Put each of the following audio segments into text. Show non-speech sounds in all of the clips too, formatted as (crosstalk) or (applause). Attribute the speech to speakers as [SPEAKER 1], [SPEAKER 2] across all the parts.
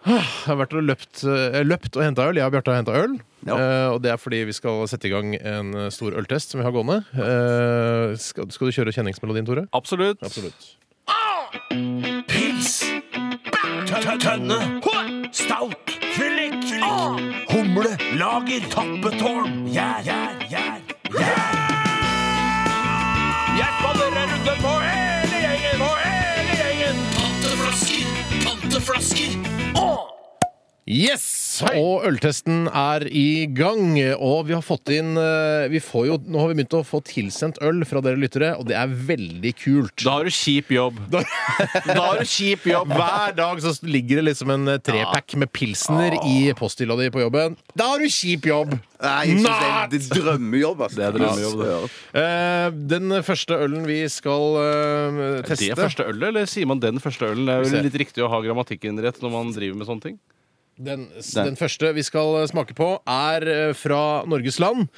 [SPEAKER 1] Jeg har vært og løpt, eh, løpt og henta øl. Jeg og Bjarte har henta øl.
[SPEAKER 2] Ja.
[SPEAKER 1] Eh, og det er fordi vi skal sette i gang en eh, stor øltest som vi har gående. Eh, skal, skal du kjøre kjenningsmelodien, Tore?
[SPEAKER 3] Absolutt.
[SPEAKER 1] Absolutt.
[SPEAKER 2] Pils. Tønne. Stout. Fyllik. Humle. Lager. Tappetårn. Gjær. Gjær. Gjær.
[SPEAKER 3] Hjertballer er rundt på hele gjengen! På hele gjengen!
[SPEAKER 4] Tanteflasker, tanteflasker.
[SPEAKER 1] Yes! Og øltesten er i gang. Og vi har fått inn eh, vi får jo, Nå har vi begynt å få tilsendt øl fra dere lyttere, og det er veldig kult.
[SPEAKER 3] Da har du kjip jobb. Da, har du kjip jobb.
[SPEAKER 1] (laughs) Hver dag så ligger det liksom en eh, trepack med pilsner i posthylla di på jobben. Da har du kjip jobb!
[SPEAKER 2] Nei, jeg synes
[SPEAKER 1] Nei!
[SPEAKER 2] det er en drømmejobb. Altså.
[SPEAKER 3] Det er drømmejobb, det.
[SPEAKER 2] Ja.
[SPEAKER 1] Eh, den første ølen vi skal eh,
[SPEAKER 3] Er det
[SPEAKER 1] teste
[SPEAKER 3] første ølet, eller sier man den første ølen? Det er
[SPEAKER 1] Vi ser.
[SPEAKER 3] vel litt riktig å ha grammatikken rett når man driver med sånne ting.
[SPEAKER 1] den, den første vi skal eh, smake på, er eh, fra Norges land.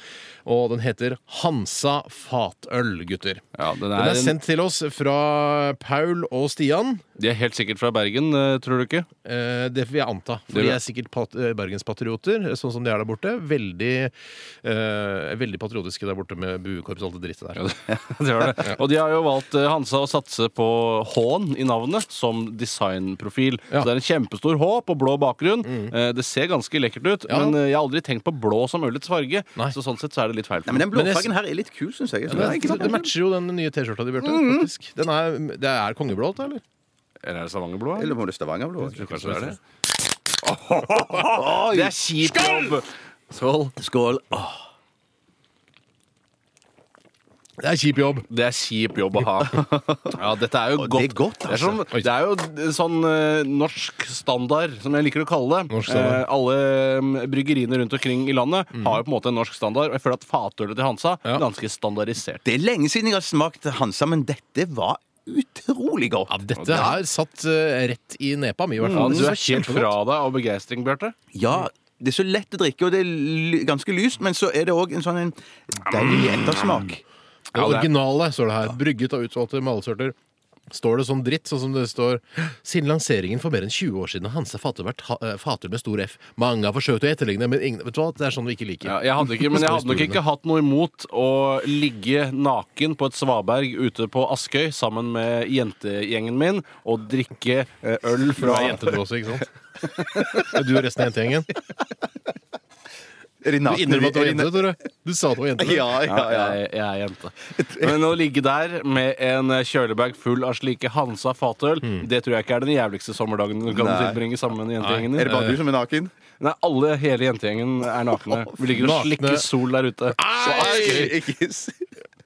[SPEAKER 1] Og den heter Hansa fatøl, gutter.
[SPEAKER 3] Ja, den
[SPEAKER 1] Den
[SPEAKER 3] er
[SPEAKER 1] er
[SPEAKER 3] en,
[SPEAKER 1] sendt til oss fra Paul og Stian.
[SPEAKER 3] de er helt sikkert fra Bergen, eh, tror du (laughs) ikke?
[SPEAKER 1] Eh, Det vil jeg anta. For
[SPEAKER 3] Det vil-
[SPEAKER 1] de er sikkert pat eh, bergenspatrioter, sånn som de er der borte. Veldig, eh, veldig patriotiske der borte med buekorps og alt det drittet der.
[SPEAKER 3] Det var det. Og de har jo valgt eh, Hansa å satse på H-en i navnet som designprofil.
[SPEAKER 1] Ja. Mm.
[SPEAKER 3] Så det er en kjempestor H på blå bakgrunn. Eh, Det ser ganske lekkert ut,
[SPEAKER 1] Ja.
[SPEAKER 3] men eh, jeg har aldri tenkt på blå som ølets farge.
[SPEAKER 1] Nei.
[SPEAKER 3] Så sånn sett så er det litt feil.
[SPEAKER 2] Nei,
[SPEAKER 3] for
[SPEAKER 2] men
[SPEAKER 3] meg.
[SPEAKER 2] den
[SPEAKER 1] Men jeg-
[SPEAKER 2] blåfargen her er litt kul, syns jeg.
[SPEAKER 1] Det, det matcher jo den nye T-skjorta di, Bjarte. faktisk. Den er, det er kongeblå, dette, eller?
[SPEAKER 3] Eller er det Stavangerblå?
[SPEAKER 2] Eller må det Stavanger-blå?
[SPEAKER 3] Jeg tror kanskje det er det. (laughs) Det er kjip jobb! Skål! Skål. Åh,
[SPEAKER 1] Det er kjip jobb.
[SPEAKER 3] Det er kjip jobb å ha. (laughs) Ja, dette er jo
[SPEAKER 2] Og
[SPEAKER 3] godt.
[SPEAKER 2] det er godt,
[SPEAKER 3] Det er, som, det er jo sånn eh, norsk standard, som jeg liker å kalle det.
[SPEAKER 1] Norsk standard.
[SPEAKER 3] Eh, alle mm, bryggeriene rundt omkring i landet har jo på en måte en norsk standard. Og jeg føler at fatølet til Hansa
[SPEAKER 1] Ja.
[SPEAKER 3] er ganske standardisert.
[SPEAKER 2] Det er lenge siden jeg har smakt Hansa, men dette var utrolig godt.
[SPEAKER 1] Ja, dette er satt eh, rett i nepa mi, i hvert
[SPEAKER 3] Ja,
[SPEAKER 1] fall.
[SPEAKER 3] du
[SPEAKER 1] Det
[SPEAKER 3] er
[SPEAKER 1] synes jeg
[SPEAKER 3] helt
[SPEAKER 1] kjempegodt.
[SPEAKER 3] fra deg av begeistring, Bjarte.
[SPEAKER 2] Ja, det er så lett å drikke, og det er ly- ganske lyst, men så er det òg en sånn en deilig ettersmak.
[SPEAKER 1] Det
[SPEAKER 3] Ja, det er-
[SPEAKER 1] originale står det her. Brygget av utvalgte malsorter. Står det sånn dritt, sånn som det står Siden lanseringen for mer enn 20 år siden har Hansa Fatøl vært ha- eh, Fatøl med stor F. Mange har forsøkt å etterligne, men ingen, vet du hva? det er sånn vi ikke liker.
[SPEAKER 3] Ja, jeg hadde ikke, men jeg hadde nok ikke hatt noe imot å ligge naken på et svaberg ute på Askøy sammen med jentegjengen min og drikke eh, øl
[SPEAKER 1] Du
[SPEAKER 3] fra
[SPEAKER 1] er jente, du også, ikke sant?
[SPEAKER 3] (laughs)
[SPEAKER 1] Du og resten av jentegjengen.
[SPEAKER 2] Er de
[SPEAKER 1] Du
[SPEAKER 2] nakne?
[SPEAKER 1] innrømmer at du var
[SPEAKER 2] er de
[SPEAKER 1] jente, Tore. Du sa at du var jente.
[SPEAKER 2] Ja, ja, ja.
[SPEAKER 3] Jeg, jeg er jente. Men å ligge der med en kjølebag full av slike Hansa fatøl, det tror jeg ikke er den jævligste sommerdagen du kan
[SPEAKER 2] Nei.
[SPEAKER 3] tilbringe sammen med jentegjengen
[SPEAKER 2] Er det
[SPEAKER 3] din.
[SPEAKER 2] bare du som er naken?
[SPEAKER 3] Nei, alle, hele jentegjengen er nakne. Ah! Vi ligger og
[SPEAKER 1] Nakne.
[SPEAKER 3] slikker sol der ute.
[SPEAKER 1] Nei!
[SPEAKER 2] Ikke s-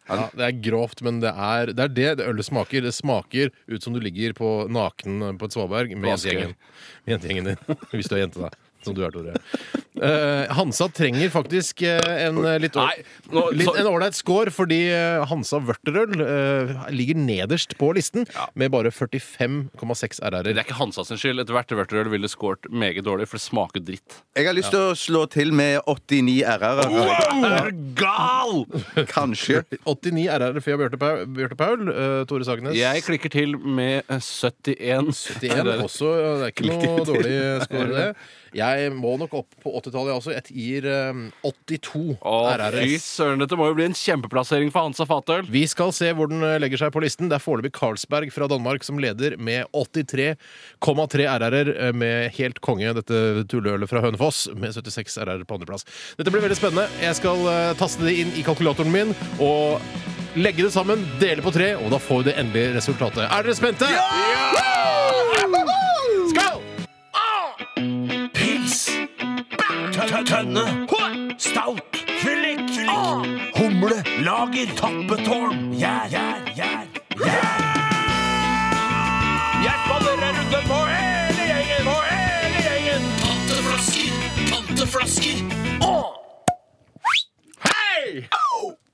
[SPEAKER 1] Ja, det er grovt, men det er det, er det, det ølet smaker. Det smaker ut som du ligger på naken på et svaberg med
[SPEAKER 3] På Askøy.
[SPEAKER 1] jentegjengen. Med jentegjengen din. (laughs) Hvis du er jente, da. Som du er, Tore. Eh, Hansa trenger faktisk eh, en eh, litt
[SPEAKER 3] Nei, nå-
[SPEAKER 1] litt-
[SPEAKER 3] så-
[SPEAKER 1] en ålreit score, fordi eh, Hansa Vørterøl eh, ligger nederst på listen med bare 45,6
[SPEAKER 3] Det
[SPEAKER 1] RR-er.
[SPEAKER 3] er ikke Hansa sin skyld. Ethvert vørterøl ville skåret meget dårlig, for det smaker dritt.
[SPEAKER 2] Jeg har lyst til å slå til med 89 RR-er.
[SPEAKER 3] Er du gal?!
[SPEAKER 2] Kanskje.
[SPEAKER 1] 89 RR-er for Bjarte Paul, Bjørte Paul eh, Tore Sagnes.
[SPEAKER 3] Jeg klikker til med 71.
[SPEAKER 1] 71 også. Det er ikke noe dårlig score, det. Jeg må nok opp på 80-tallet, jeg også. Jeg gir eh, 82
[SPEAKER 3] Å, fy
[SPEAKER 1] RRS.
[SPEAKER 3] søren, dette må jo bli en kjempeplassering for Hansa fatøl.
[SPEAKER 1] Vi skal se hvor den eh, legger seg på listen. Det er foreløpig Carlsberg fra Danmark som leder med 83,3 RR-er eh, med helt konge, dette tulleølet fra Hønefoss, med 76 RR-er på andreplass. Dette blir veldig spennende. Jeg skal eh, taste det inn i kalkulatoren min og legge det sammen, dele på tre, og da får vi det endelige resultatet. Er dere spente? Skål!
[SPEAKER 4] Tønne. Stout. Fyllik. Humle. Lager. Tappetårn. Gjær. Gjær. Gjær.
[SPEAKER 3] Hjertballer er ute på hele gjengen! På hele gjengen!
[SPEAKER 4] Tanteflasker, tanteflasker.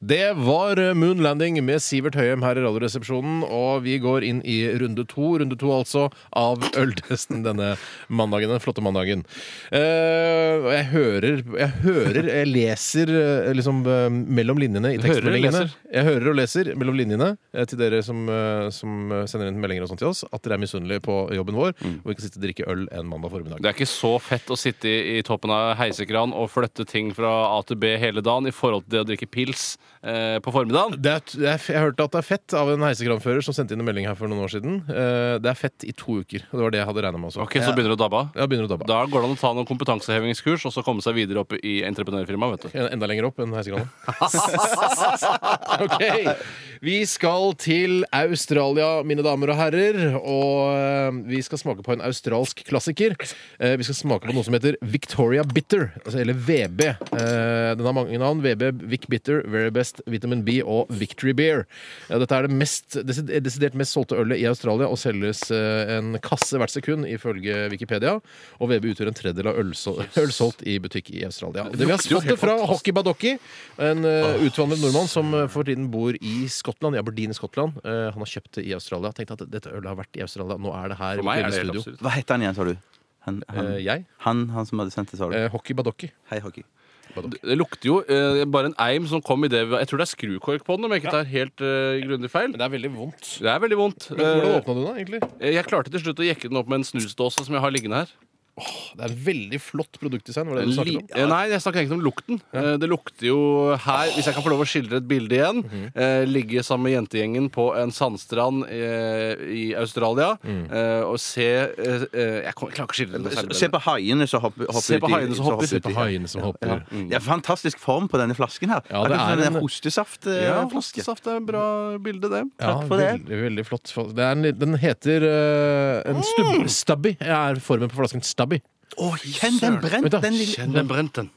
[SPEAKER 1] Det var Moon Landing med Sivert Høyem her i Radioresepsjonen, og vi går inn i runde to, runde to altså, av øltesten denne mandagen, den flotte mandagen. Eh, og jeg hører, jeg hører, jeg leser eh, liksom eh, mellom linjene i
[SPEAKER 3] hører og
[SPEAKER 1] tekstmeldingene.
[SPEAKER 3] leser?
[SPEAKER 1] Jeg hører og leser mellom linjene eh, til dere som, eh, som sender inn meldinger og sånt til oss, at dere er misunnelige på jobben vår,
[SPEAKER 3] Mm.
[SPEAKER 1] og ikke sitter og drikker øl en mandag formiddag.
[SPEAKER 3] Det er ikke så fett å sitte i, i toppen av heisekran og flytte ting fra A til B hele dagen i forhold til det å drikke pils eh, på formiddagen.
[SPEAKER 1] Det er, det er, jeg hørte at det er fett av en heisekranfører som sendte inn en melding her for noen år siden. Eh, det er fett i to uker. og Det var det jeg hadde regna med også.
[SPEAKER 3] Ok, Så begynner det å dabbe av.
[SPEAKER 1] Ja, begynner å dabbe.
[SPEAKER 3] Da går det an å ta noen kompetansehevingskurs og så komme seg videre opp i entreprenørfirmaet. vet du.
[SPEAKER 1] En- Enda lenger opp enn heisekranen. (laughs) ok. Vi skal til Australia, mine damer og herrer. Og eh, vi skal smake på en australsk klassiker. Eh, Vi skal smake på noe som heter Victoria Bitter, altså, eller VB. Eh, Den har mange navn. VB, Vic Bitter, Very Best, Vitamin B og Victory Beer. Eh, Dette er det mest, desid- desidert mest solgte ølet i Australia og selges eh, en kasse hvert sekund, ifølge Wikipedia. Og VB utgjør en tredjedel av ølsol- øl solgt i butikk i Australia. Det vi har fått det fra Hockey Badocki, en eh, utvandret nordmann som eh, for tiden bor i Skottland, i Aberdeen i Skottland. Eh, han har kjøpt det i Australia. Tenkte at dette ølet har vært i Australia. Nå er det her.
[SPEAKER 3] For meg
[SPEAKER 1] i
[SPEAKER 3] er det helt
[SPEAKER 1] studio.
[SPEAKER 3] absurd.
[SPEAKER 2] Hva heter han igjen, sa du? Han, han,
[SPEAKER 1] Eh, jeg?
[SPEAKER 2] han, han som hadde sendt Hm. det, sa du?
[SPEAKER 1] Eh, Hockey Badocki.
[SPEAKER 2] Hei, hockey.
[SPEAKER 3] Det det lukter jo eh, bare en eim som kom i det vi- Jeg tror det er skrukork på den, om jeg ikke tar helt eh, grundig feil.
[SPEAKER 1] Men det er veldig vondt.
[SPEAKER 3] Det er veldig vondt.
[SPEAKER 1] Hvordan
[SPEAKER 3] Eh,
[SPEAKER 1] åpna du den, da, egentlig?
[SPEAKER 3] jeg klarte til slutt å jekke den opp med en snusdåse som jeg har liggende her.
[SPEAKER 1] Det er veldig flott produktdesign. Var det du
[SPEAKER 3] Li
[SPEAKER 1] snakket om?
[SPEAKER 3] eh, Nei, jeg snakker egentlig om lukten. Eh, Det lukter jo her, hvis jeg kan få lov å skildre et bilde igjen, eh, ligge sammen med jentegjengen på en sandstrand eh, i Australia eh, og se eh, eh, Jeg kan- jeg klarer ikke å skildre det. noe særlig
[SPEAKER 2] Se
[SPEAKER 3] bedre.
[SPEAKER 2] på haiene som hopper, hopper
[SPEAKER 3] Se på
[SPEAKER 2] uti-
[SPEAKER 3] haiene som hopper.
[SPEAKER 1] Se på
[SPEAKER 2] uti.
[SPEAKER 1] haien som hopper.
[SPEAKER 2] Ja. Det er fantastisk form på denne flasken her. sånn
[SPEAKER 1] Ja, det er en-
[SPEAKER 2] en
[SPEAKER 3] Ja,
[SPEAKER 2] hostesaftflaske.
[SPEAKER 3] Hostesaft er et bra bilde, det.
[SPEAKER 1] Ja,
[SPEAKER 2] Takk for det.
[SPEAKER 1] Veldig, veldig flott. Det er en, litt- den heter eh, en stubb,
[SPEAKER 2] Mm.
[SPEAKER 1] Stubby. er formen på flasken Stubby.
[SPEAKER 2] Å, kjenn den brent!
[SPEAKER 1] Vent da,
[SPEAKER 2] Den lille,
[SPEAKER 3] Kjenn den brenten.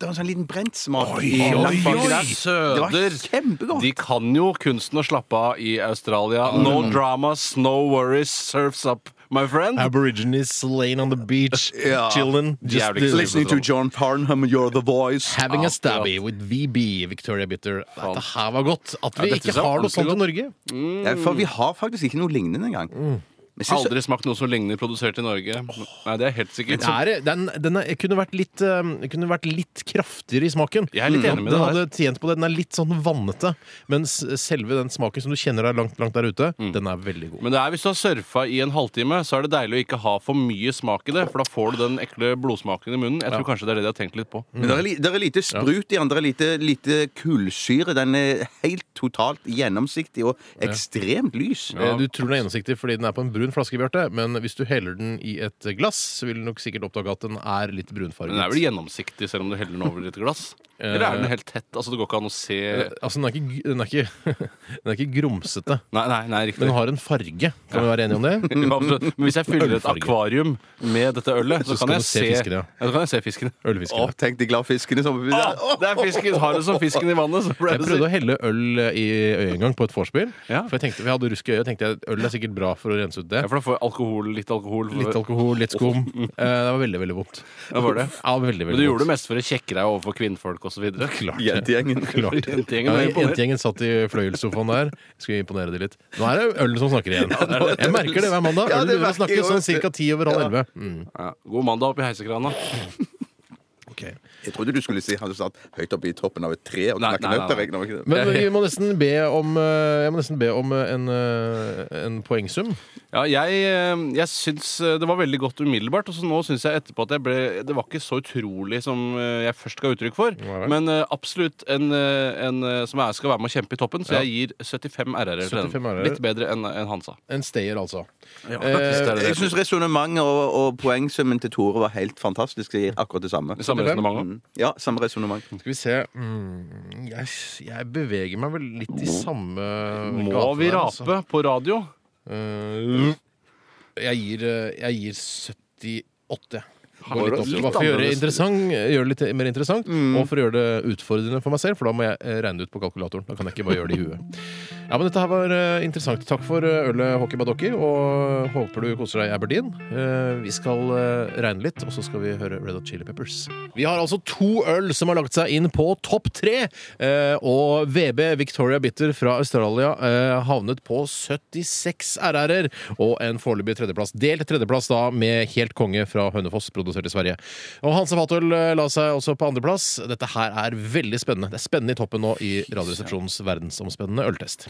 [SPEAKER 2] det var en sånn liten brent smak.
[SPEAKER 1] Oi,
[SPEAKER 2] i
[SPEAKER 1] oi,
[SPEAKER 2] lappen.
[SPEAKER 1] oi.
[SPEAKER 2] Det var- Det var
[SPEAKER 3] Søder!
[SPEAKER 2] kjempegodt!
[SPEAKER 3] De kan jo kunsten å slappe av i Australia. No dramas, no worries, surfs up, my friend.
[SPEAKER 1] Aborigines slain on the (laughs) beach.
[SPEAKER 2] Ja.
[SPEAKER 1] Children just
[SPEAKER 3] Jævlig
[SPEAKER 1] uh,
[SPEAKER 2] Listening to John Parnham, you're the voice.
[SPEAKER 1] having a stabby with VB, Victoria Bitter. Dette her var godt. At vi
[SPEAKER 3] Ja, dette
[SPEAKER 1] ikke
[SPEAKER 3] var
[SPEAKER 1] har noe
[SPEAKER 3] ordentlig
[SPEAKER 1] sånt
[SPEAKER 3] godt.
[SPEAKER 1] i Norge.
[SPEAKER 2] Ja, for vi har faktisk ikke noe lignende engang.
[SPEAKER 1] Mm.
[SPEAKER 2] Men synes-
[SPEAKER 3] Aldri smakt noe som ligner produsert i Norge. Nei, det er helt sikkert.
[SPEAKER 1] Det er, den den er, kunne, vært litt, eh, kunne vært litt kraftigere i smaken. Mm.
[SPEAKER 3] Jeg er litt enig med
[SPEAKER 1] den
[SPEAKER 3] deg her.
[SPEAKER 1] hadde tjent på det. Den er litt sånn vannete, mens selve den smaken som du kjenner er langt, langt der ute,
[SPEAKER 3] Mm.
[SPEAKER 1] den er veldig god.
[SPEAKER 3] Men det er hvis du har surfa i en halvtime, så er det deilig å ikke ha for mye smak i det. For da får du den ekle blodsmaken i munnen. Jeg tror kanskje det er det de har tenkt litt på.
[SPEAKER 2] Men det er, li- det er lite sprut i den, det er lite, lite kullsyre. Den er helt totalt gjennomsiktig og ekstremt lys.
[SPEAKER 1] Eh, Du tror den er gjennomsiktig fordi den er på en brun flaske, Bjarte, men hvis du heller den i et glass, så vil du nok sikkert oppdage at den er litt brunfarget.
[SPEAKER 3] Den er vel gjennomsiktig selv om du heller den over i et glass? Eller er den helt tett? Altså, det går ikke an å se
[SPEAKER 1] Eh, Altså, den er ikke, den er ikke, (laughs) den er ikke grumsete.
[SPEAKER 3] Nei, nei, nei riktig.
[SPEAKER 1] Men den har en farge. Kan vi være enige om det?
[SPEAKER 3] (laughs) Ja, absolutt. Men hvis jeg fyller et
[SPEAKER 1] Ølfarge.
[SPEAKER 3] akvarium med dette ølet, så,
[SPEAKER 1] Så skal
[SPEAKER 3] kan jeg
[SPEAKER 1] du se
[SPEAKER 3] se,
[SPEAKER 1] fiskene, ja.
[SPEAKER 3] ja. så kan jeg se fiskene.
[SPEAKER 1] Ølfiskene.
[SPEAKER 2] Å, tenk de glad fiskene som
[SPEAKER 3] Ah, det er fisken! Har du som fisken i vannet, så ble
[SPEAKER 1] Jeg
[SPEAKER 3] det
[SPEAKER 1] prøvde å
[SPEAKER 3] sikkert.
[SPEAKER 1] helle øl i øyet en gang på et vorspiel.
[SPEAKER 3] Ja.
[SPEAKER 1] For jeg tenkte, vi hadde rusk i øyet, tenkte jeg øl er sikkert bra for å rense ut det.
[SPEAKER 3] Ja, for da får jeg alkohol, litt alkohol.
[SPEAKER 1] Litt alkohol, litt
[SPEAKER 3] (laughs)
[SPEAKER 1] skum. Eh, Det var veldig, veldig vondt.
[SPEAKER 3] Ja, var det?
[SPEAKER 1] Ja, veldig, veldig
[SPEAKER 3] Men du gjorde det
[SPEAKER 1] vondt.
[SPEAKER 3] mest for å kjekke deg overfor kvinnfolk osv. Klart.
[SPEAKER 2] Jentegjengen.
[SPEAKER 1] Klart.
[SPEAKER 3] Jentegjengen
[SPEAKER 1] Ja,
[SPEAKER 3] var imponert.
[SPEAKER 1] Jentegjengen satt i fløyelssofaen der. Skulle imponere de litt. Nå er det øl som snakker
[SPEAKER 2] (laughs)
[SPEAKER 1] igjen. Jeg merker det hver mandag.
[SPEAKER 2] Ja,
[SPEAKER 1] Øl
[SPEAKER 2] det
[SPEAKER 1] begynner å
[SPEAKER 2] merker
[SPEAKER 1] snakke
[SPEAKER 2] jeg
[SPEAKER 1] sånn
[SPEAKER 2] også.
[SPEAKER 1] ca. ti over halv elleve. Mm,
[SPEAKER 3] Ja. God mandag opp i heisekrana.
[SPEAKER 1] ok.
[SPEAKER 2] Jeg trodde du skulle si han som satt høyt oppe i toppen av et tre og
[SPEAKER 3] Nei,
[SPEAKER 2] knakk
[SPEAKER 3] nei, nei,
[SPEAKER 2] nøtter.
[SPEAKER 3] nei.
[SPEAKER 2] jeg nå, ikke det?
[SPEAKER 1] Men vi må nesten be om, eh, jeg må nesten be om eh, en, eh, en poengsum.
[SPEAKER 3] Ja, jeg, eh, jeg syns eh, det var veldig godt umiddelbart. Og så nå syns jeg etterpå at jeg ble Det var ikke så utrolig som eh, jeg først ga uttrykk for.
[SPEAKER 1] Nei vel.
[SPEAKER 3] Men eh, absolutt en, eh, en eh, som er, skal være med å kjempe i toppen, så
[SPEAKER 1] Ja.
[SPEAKER 3] jeg gir 75 RR-er til
[SPEAKER 1] 75
[SPEAKER 3] den.
[SPEAKER 1] RR.
[SPEAKER 3] Litt bedre enn enn Hansa.
[SPEAKER 1] En stayer, altså.
[SPEAKER 3] Hvis det
[SPEAKER 1] Eh,
[SPEAKER 3] er
[SPEAKER 2] Jeg
[SPEAKER 3] det.
[SPEAKER 2] syns resonnementet og, og poengsummen til Tore var helt fantastisk. Jeg gir akkurat det samme. Mm.
[SPEAKER 3] Det Samme
[SPEAKER 1] 75?
[SPEAKER 3] resonnement.
[SPEAKER 2] Ja, samme resonnement.
[SPEAKER 1] Skal vi se mm, jeg, jeg beveger meg vel litt i samme
[SPEAKER 3] Må
[SPEAKER 1] gata
[SPEAKER 3] vi
[SPEAKER 1] der, altså.
[SPEAKER 3] rape på radio?
[SPEAKER 1] Eh, jeg, gir, eh, jeg gir 78. Gå litt opp. Bare for å gjøre det, interessant, gjøre det litt mer interessant, og for å gjøre det utfordrende for meg selv, for da må jeg eh, regne det ut på kalkulatoren. Da kan jeg ikke bare gjøre det i huet. Ja, men Dette her var eh, interessant. Takk for eh, ølet Hockey Badocki, og eh, håper du koser deg i Aberdeen. Eh, Vi skal eh, regne litt, og så skal vi høre Red Hot Chili Peppers. Vi har altså to øl som har lagt seg inn på topp tre, eh, og VB Victoria Bitter fra Australia eh, havnet på 76 RR-er, og en foreløpig tredjeplass. Delt tredjeplass da med Helt Konge fra Hønefoss, produsert i Sverige. Og Hanse Fatøl eh, la seg også på andreplass. Dette her er veldig spennende. Det er spennende i toppen nå i Radioresepsjonens verdensomspennende øltest.